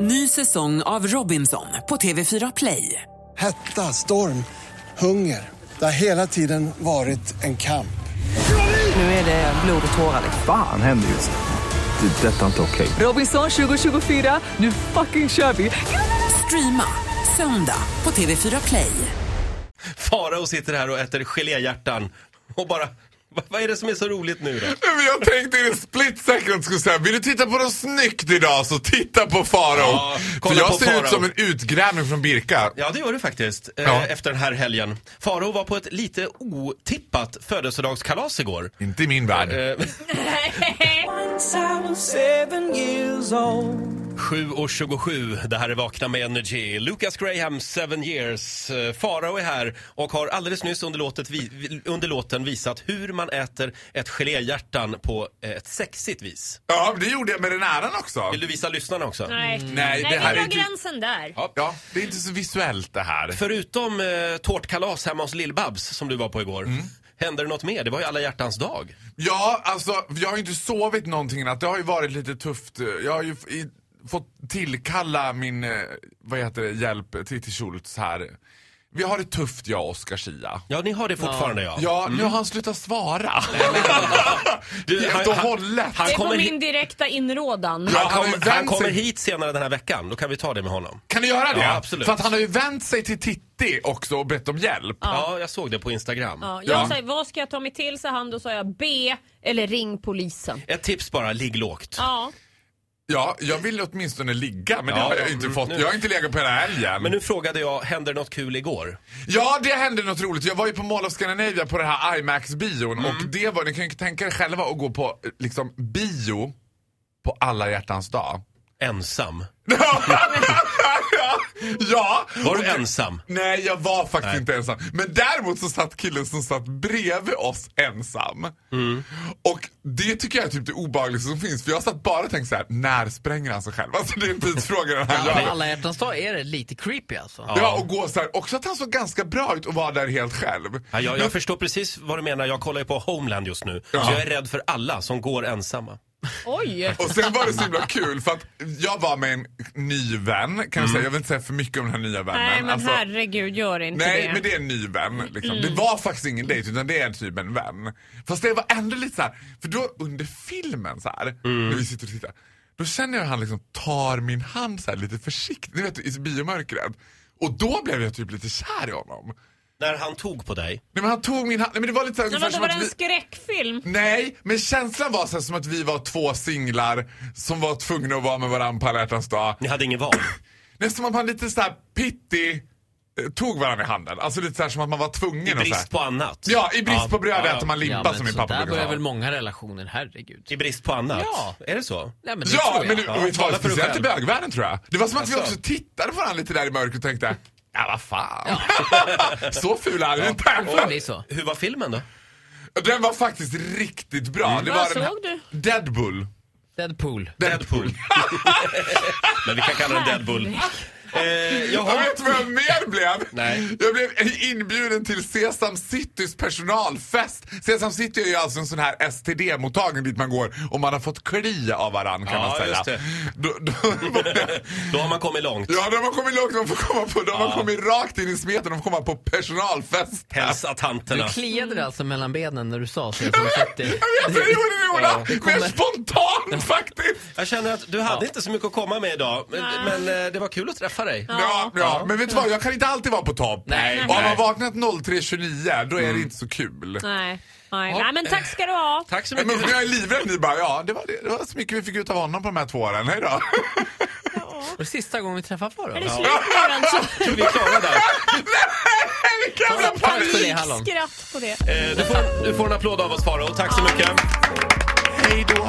Ny säsong av Robinson på TV4 Play. Hetta, storm, hunger. Det har hela tiden varit en kamp. Nu är det blod och tårar. Fan händer just nu. Det. är Detta är inte okej. Robinson 2024, nu fucking kör vi! Streama söndag på TV4 Play. Farao sitter här och äter geléhjärtan och bara, "Va- vad är det som är så roligt nu då? Men jag tänkte i en split second skulle säga, vill du titta på något snyggt idag så titta på Faro. Ja, kolla För jag på ser Faro. ut som en utgrävning från Birka. Ja, det gör du faktiskt, eh, Ja. efter den här helgen. Farao var på ett lite otippat födelsedagskalas igår. Inte i min värld. Eh, Sju och 27, det här är Vakna med Energy. Lucas Graham, Seven Years. Eh, Farao är här och har alldeles nyss under, låtet vi, vi- under låten visat hur man äter ett geléhjärtan på eh, ett sexigt vis. Ja, det gjorde jag med den äran också. Vill du visa lyssnarna också? Nej, Nej, det här vi är drar inte... gränsen där. Ja, det är inte så visuellt det här. Förutom eh, tårtkalas hemma hos Lill-Babs som du var på igår. Hände det något mer? Det var ju alla hjärtans dag. Ja, alltså jag har ju inte sovit någonting i natt. Det har ju varit lite tufft. Jag har ju f- i, fått tillkalla min, eh, vad heter det, hjälp, Titti Schultz här. Vi har det tufft jag och Oscar Schia. Ja, ni har det fortfarande ja. Ja, nu har han slutat svara. Du, Helt och hållet. Han Det är på kommer, hi- min direkta inrådan. Ja. han Han har ju kom, vänt han kommer sig- hit senare den här veckan. Då kan vi ta det med honom. Kan du göra det? Ja, absolut. För att han har ju vänt sig till Titti också och bett om hjälp. Ja, jag såg det på Instagram. Ja, jag Ja. säger, vad ska jag ta mig till? Så han då sa jag B eller ring polisen. Ett tips bara, ligg lågt. Ja, Ja, jag vill åtminstone ligga men Ja, det har jag ja, inte mm, fått. nu- Jag har inte legat på hela helgen. Men nu frågade jag, hände det något kul igår? Ja, det hände något roligt. Jag var ju på Mall of Scandinavia på den här IMAX-bion och Mm. det var, ni kan ju tänka er själva att gå på eh, liksom bio på alla hjärtans dag. Ensam. ja! Var och du det- ensam? Nej, jag var faktiskt Nej. inte ensam. Men däremot så satt killen som satt bredvid oss ensam. Mm. Och det tycker jag är typ det obehagligaste som finns. För jag satt bara och tänkte så här: när spränger han sig själv? Alltså det är en tidsfråga den här Ja, men dagen. alla hjärtans dag är det lite creepy alltså. Ja, och gå så här. Också att han såg ganska bra ut och var där helt själv. Ja, jag, jag förstår precis vad du menar. Jag kollar ju på Homeland just nu. Så Ja. jag är rädd för alla som går ensamma. oj. Och sen var det så himla kul för att jag var med en ny vän, kan Mm. jag säga. Jag vill inte säga för mycket om den här nya vännen. Nej men Alltså, herregud gör inte Nej, det. Mm. men det är en ny vän. Liksom. Det var faktiskt ingen dejt utan det är typ en vän. Fast det var ändå lite så här, för då under filmen så här, när vi sitter och tittar, då känner jag hur han liksom tar min hand så här lite försiktigt, ni vet i biomörkret. Och då blev jag typ lite kär i honom. När han tog på dig. Nej men han tog min hand, nej men det var lite så här, Nej, ungefär men då som var det att en vi... skräckfilm. Nej, men känslan var så här som att vi var två singlar som var tvungna att vara med varandra på alla hjärtans dag. Ni hade ingen val. Det är som att man lite så här pitti eh, tog varandra i handen. Alltså lite så här som att man var tvungen I och så här. brist på annat. Ja, i brist Ja, på bröd ja, äter man limpa men som min så pappa där brukar börjar väl säga. många relationer, herregud. I brist på annat? Ja. Är det så? Nej, men det Ja, tror men jag. du, Ja, och vet du tala vad, för dig speciellt i själv. bögvärlden tror jag. Det var som att vi Alltså. också tittade på varandra lite där i mörkret och tänkte, ja vad fan. så ful är den Det inte. blir så. Hur var filmen då? Den var faktiskt riktigt Mm. bra. Det Vad var den såg här, Deadpool. Deadpool. Deadpool. Men vi kan kalla den Deadpool. Eh, Jag jaha. vet du vad jag mer blev? Nej. Jag blev inbjuden till Sesam Citys personalfest. Sesam City är ju alltså en sån här STD-mottagning dit man går om man har fått kli av varann kan Ja, man säga. just det. Då, då var det- Då har man kommit långt. ja, de har kommit långt, de får komma på, de har kommit rakt in i smeten, de får komma på personalfest. Hälsa tanterna. Du kliade dig alltså mellan benen när du sa så. Jag som sagt Jag det. vet, jag gjorde det Ola! Mer spontant faktiskt! Jag känner att du hade inte så mycket att komma med idag. Men, Nej. men eh, det var kul att träffa dig. Ja, ja, men vet du vad? Jag kan inte alltid vara på topp. Nej. Mm. Och Har man vaknat 03.29 då är det inte så kul. Nej. Nej. Nej men tack ska du ha. Tack så Nej, mycket. men jag är livrädd nu bara. Ja, det var, det, det var så mycket vi fick ut av honom på de här två åren. Hej då. Var det sista gången vi träffade Är Farao? det slut nu alltså? Vi är klara där. Vilken jävla Tack för det, panik! hallon. Skratt på det. Eh, Du får, du får en applåd av oss Farao. Tack så mycket. Hej då.